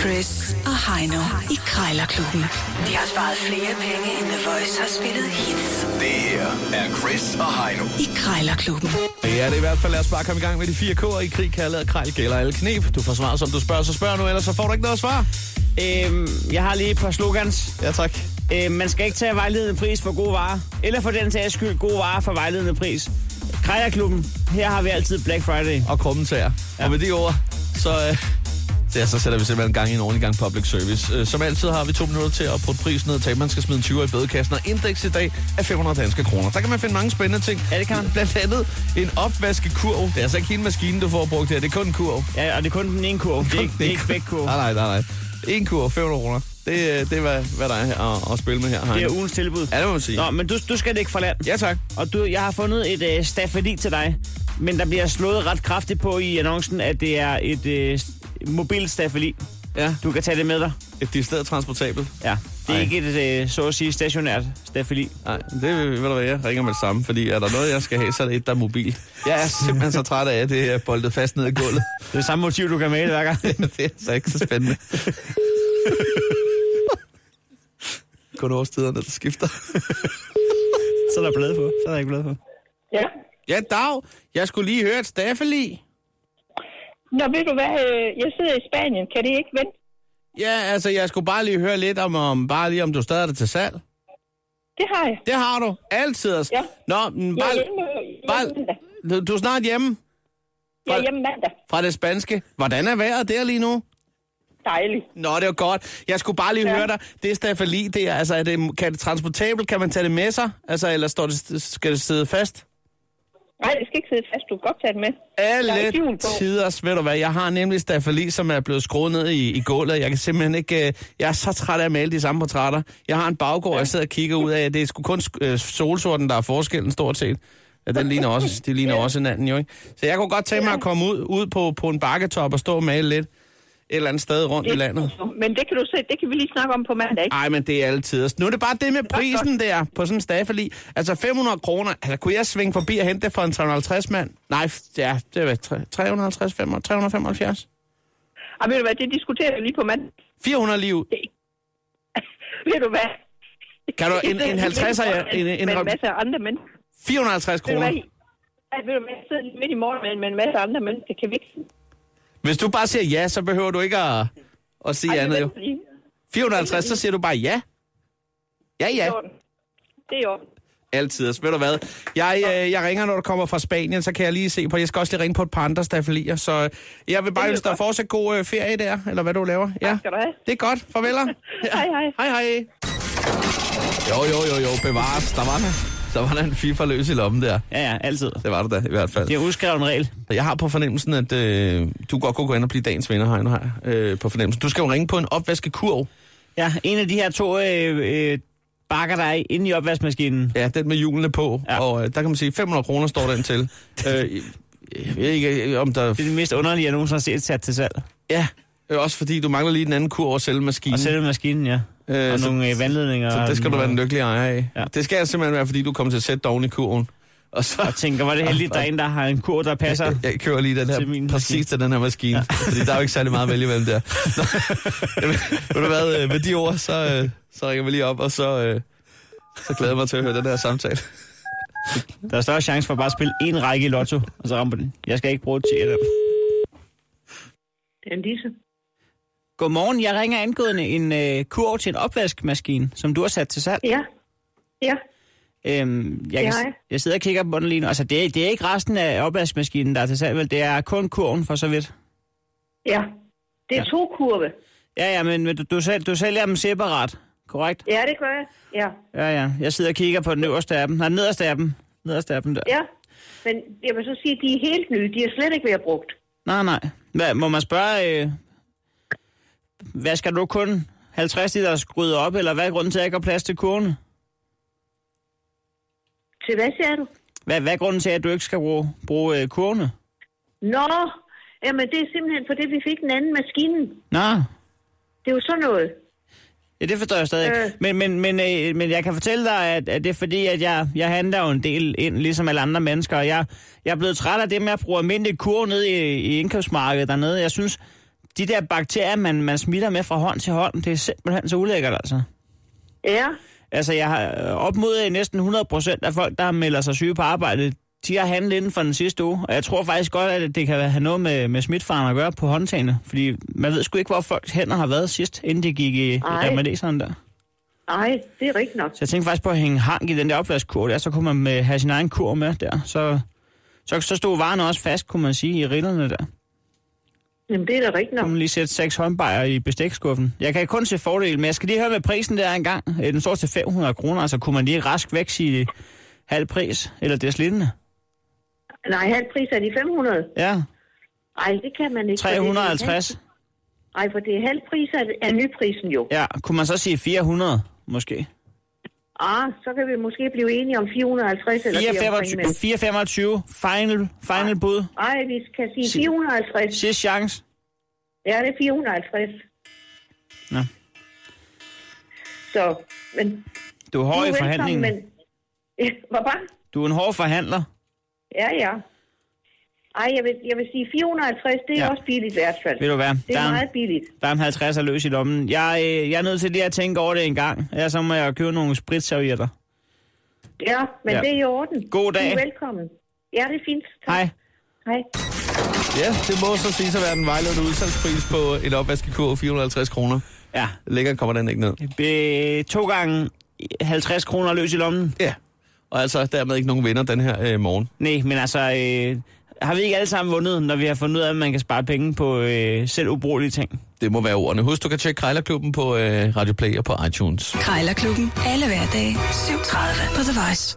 Chris og Heino i Krejlerklubben. De har sparet flere penge, end The Voice har spillet hits Det her er Chris og Heino. i Krejlerklubben. Det er det i hvert fald. Lad os bare komme i gang med de fire K'er i krig, kærlighed og krejl gælder alle knep. Du får svar, som du spørger, så spørg nu, ellers så får du ikke noget svar. Øhm, jeg har lige et par slogans. Ja, tak. Øhm, man skal ikke tage vejledende pris for gode varer. Eller for den sags skyld, gode varer for vejledende pris. Krejerklubben, her har vi altid Black Friday. Og kommentarer. Ja. Og med de ord, så, øh, så, ja, så sætter vi simpelthen gang i en ordentlig gang public service. Øh, Som altid har vi to minutter til at putte prisen ned og tage, man skal smide en 20 i bødekassen. Og indeks i dag er 500 danske kroner. Der kan man finde mange spændende ting. Ja, det kan man. Blandt andet en opvaskekurv. Det er altså ikke hele maskinen, du får brugt her. Det er kun en kurv. Ja, og det er kun den ene kurv. Det er ikke, det er Ah, ikke begge kurve. Nej, nej, nej, nej. En kurv, 500 kroner. Det, øh, det er, hvad, hvad der er her at, at spille med her. Det er Heino. ugens tilbud. Ja, det må man sige. Nå, men du, du skal det ikke fra land. Ja, tak. Og du, jeg har fundet et øh, stafeli til dig. Men der bliver slået ret kraftigt på i annoncen, at det er et øh, mobilt stafeli. Ja. Du kan tage det med dig. Et decideret transportabelt? Ja. Det er Ej. ikke et, øh, så at sige, stationært stafeli. Nej, det ved du hvad, jeg ringer med det samme, fordi er der noget, jeg skal have, så er det et, der er mobil. Jeg er simpelthen så træt af, at det er boldet fast ned i gulvet. Det er samme motiv, du kan male hver gang. det er altså ikke så spændende. Kun årstiderne, der skifter. Så er der blad på. Så er der ikke blad på. Ja. Ja, dag. Jeg skulle lige høre et staffeli. Nå, ved du hvad? øh, Jeg sidder i Spanien. Kan det ikke vente? Ja, altså, jeg skulle bare lige høre lidt om, om bare lige om du stadig er til salg. Det har jeg. Det har du. Altid. altså. Ja. Nå, men Jeg bare, er hjemme, bare- hjemme mandag. du- du er snart hjemme Jeg er hjemme mandag. fra det spanske. Hvordan er vejret der lige nu? Dejligt. Nå, det var godt. Jeg skulle bare lige ja. Ja. høre dig. Det stafeli, det er, altså, er det, kan det transportabelt? Kan man tage det med sig? Altså, eller står det, skal det sidde fast? Nej, det skal ikke sidde fast. Du kan godt tage det med. Der er Alle et hjul på. tiders, ved du hvad, jeg har nemlig stafeli, som er blevet skruet ned i, i gulvet. Jeg kan simpelthen ikke, øh, jeg er så træt af at male de samme portrætter. Jeg har en baggård, ja. jeg sidder og kigger ud af. Det er sgu kun sk- øh, solsorten, der er forskellen stort set. Ja, den ligner også, de ligner ja. også hinanden jo, ikke? Så jeg kunne godt tænke mig at komme ud, ud på, på en bakketop og stå og male lidt et eller andet sted rundt i landet. Men det kan du se. Det kan vi lige snakke om på mandag, ikke? Ej, men det er altid. Nu er det bare det med prisen der på sådan en staffeli. Altså 500 kroner. Altså, kunne jeg svinge forbi og hente det for en 350 mand? Nej, f- ja, det var tre- 350, 500, 375. Og ved du hvad? Det diskuterer vi lige på mandag. 400 liv. Ved du hvad? Kan du- en- en Jeg sidder 50'er, midt i ja, morgen en- en- Med en masse andre mennesker. 450 Ved du kroner. hvad? Ja, ved du hvad? Jeg sidder lige midt i morgen med- med en masse andre mennesker. Kan vi ikke? Hvis du bare siger ja, så behøver du ikke at, at sige Ej, andet det jo. venter lige. 450, så siger du bare ja. Ja, Det er ja. i orden. Det er i orden. Altid. Ved du hvad? Jeg, øh, jeg ringer, når du kommer fra Spanien, så kan jeg lige se på. Jeg skal også lige ringe på et par andre staffelier. Så øh, jeg vil bare lyder ønske dig godt. fortsat god øh, ferie der, eller hvad du laver. Ja. skal du have. Det er godt. Farveler. Hej, hej. Hej, hej. Jo, jo, jo, jo. Bevares. Der var der, der, var der en FIFA løs i lommen der. Ja, ja, altid. Det var det da, i hvert fald. Det er udskrevet en regel. Jeg har på fornemmelsen, at øh, du godt kunne gå ind og blive dagens vinder, Heino, her, øh, på fornemmelsen. Du skal jo ringe på en opvaskekurv. Ja, en af de her to øh, øh, bakker, der er inde i opvaskemaskinen. Ja, den med hjulene på. Ja. Ja. Og øh, der kan man sige, 500 kroner står den til. øh, jeg ved ikke, øh, om der... Det er det mest underlige, jeg nogensinde har set sat til salg. Ja, øh, også fordi du mangler lige den anden kurv og selve maskinen. Og selve maskinen, ja. Mm. Øh, Øh, og så- nogle øh, vandledninger. Så det skal og, du være den lykkelige ejer af. Ja. Ja. Det skal simpelthen være, fordi du kommer til at sætte dig oven i kurven. Og så, Og tænker, hvor er det heldigt, der er en, der har en kur, der passer. Jeg, jeg kører lige den her, Til min præcis maskine. Altså, til den her maskine, ja. fordi der er jo ikke særlig meget at vælge imellem der. Nå, Jamen, ved du hvad, øh, med de ord, så, øh, så ringer vi lige op, og så, øh, så glæder jeg mig til at høre den her samtale. Der er større chance for bare at spille en række i lotto, og så rammer den. Jeg skal ikke bruge det til et af dem. Det er en disse. Godmorgen, jeg ringer angående en øh, kurv til en opvaskemaskine, som du har sat til salg. Ja. Ja. Øhm, jeg, Det kan, har jeg. jeg sidder og kigger på den lige nu. Altså, det er, det er ikke resten af opvaskemaskinen, der er til salg, vel? Det er kun kurven for så vidt. Ja. Det er Ja. to kurve. Ja, ja, men men du, du, sælger, du sælger dem separat, korrekt? Ja, det gør jeg. Ja. Ja, ja. Jeg sidder og kigger på den øverste af dem. Nej, den nederste af dem. Nederste af dem der. Ja, men jeg vil så sige, at de er helt nye. De er slet ikke været brugt. Nej, nej. Hvad, må man spørge, øh, hvad skal du kun 50 liter skryde op, eller hvad er grunden til, at jeg ikke har plads til kurven? Til hvad siger du? Hvad, hvad er grunden til, at du ikke skal bruge, bruge øh, kurvene? Nå, jamen det er simpelthen fordi, vi fik en anden maskine. Nå, Det er jo sådan noget. Ja, det forstår jeg stadig ikke. Øh. Men, men, men, øh, men jeg kan fortælle dig, at, at det er fordi, at jeg, jeg handler jo en del ind, ligesom alle andre mennesker. Og jeg, jeg er blevet træt af det med at bruge almindelig kurv ned i, i indkøbsmarkedet dernede. Jeg synes, de der bakterier, man, man smitter med fra hånd til hånd, det er simpelthen så ulækkert, altså. Ja, Altså, jeg har øh, op mod øh, næsten 100 procent af folk, der melder sig syge på arbejde, de har handlet inden for den sidste uge. Og jeg tror faktisk godt, at det kan have noget med, med smitfaren at gøre på håndtagene. Fordi man ved sgu ikke, hvor folks hænder har været sidst, inden de gik i, i Ej. remadeseren der. nej, det er rigtigt nok. Så jeg tænkte faktisk på at hænge hank i den der opvaskkur der, så kunne man øh, have sin egen kur med der. Så, så, så stod varen også fast, kunne man sige, i rillerne der. Jamen, det er da rigtigt Kunne nok. man lige sætte seks håndbejer i bestikskuffen. Jeg kan kun se fordel, men jeg skal lige høre med prisen der engang. Øh, Den står til 500 kroner, altså kunne man lige rask væk sige halv pris, eller det lignende. Nej, halv pris er de 500. Ja, Nej, det kan man ikke. for det er- 350. Nej, for det er halv pris af, af nyprisen jo. Ja, kunne man så sige 400, måske. Ah, så kan vi måske blive enige om 450 eller 425, 425 final, final bud. Nej, vi kan sige 450. Sidste chance. Ja, det er 450. Nå, Så, men... du er hård du i er velkommen, forhandlingen. Men... Ja, hvor bare? Du er en hård forhandler. Ja, ja. Ej, jeg vil, jeg vil sige 450, det er Ja. ja. også billigt i hvert fald. Ved du hvad? Det Der er er en- meget billigt. Der er en 50 løs i lommen. Jeg, øh, jeg er nødt til lige at tænke over det en gang. Ja, så må jeg købe nogle spritservietter. Ja, men Ja. ja. det er i orden. God dag. Du er velkommen. Ja, det er fint. Tak. Hej. Hej. Ja, det må så sige at være den vejledende udsalgspris på et opvaskekur 450 kroner. Ja, Lækker kommer den ikke ned. Øh, to gange 50 kroner løs i lommen. Ja. Og altså dermed ikke nogen vinder den her øh, morgen. Nej, men altså, øh, har vi ikke alle sammen vundet, når vi har fundet ud af, at man kan spare penge på øh, selv ubrugelige ting? Det må være ordene. Husk, du kan tjekke Krejlerklubben på øh, Radio Play og på iTunes. Krejlerklubben. Alle hverdage. 7.30 på The Voice.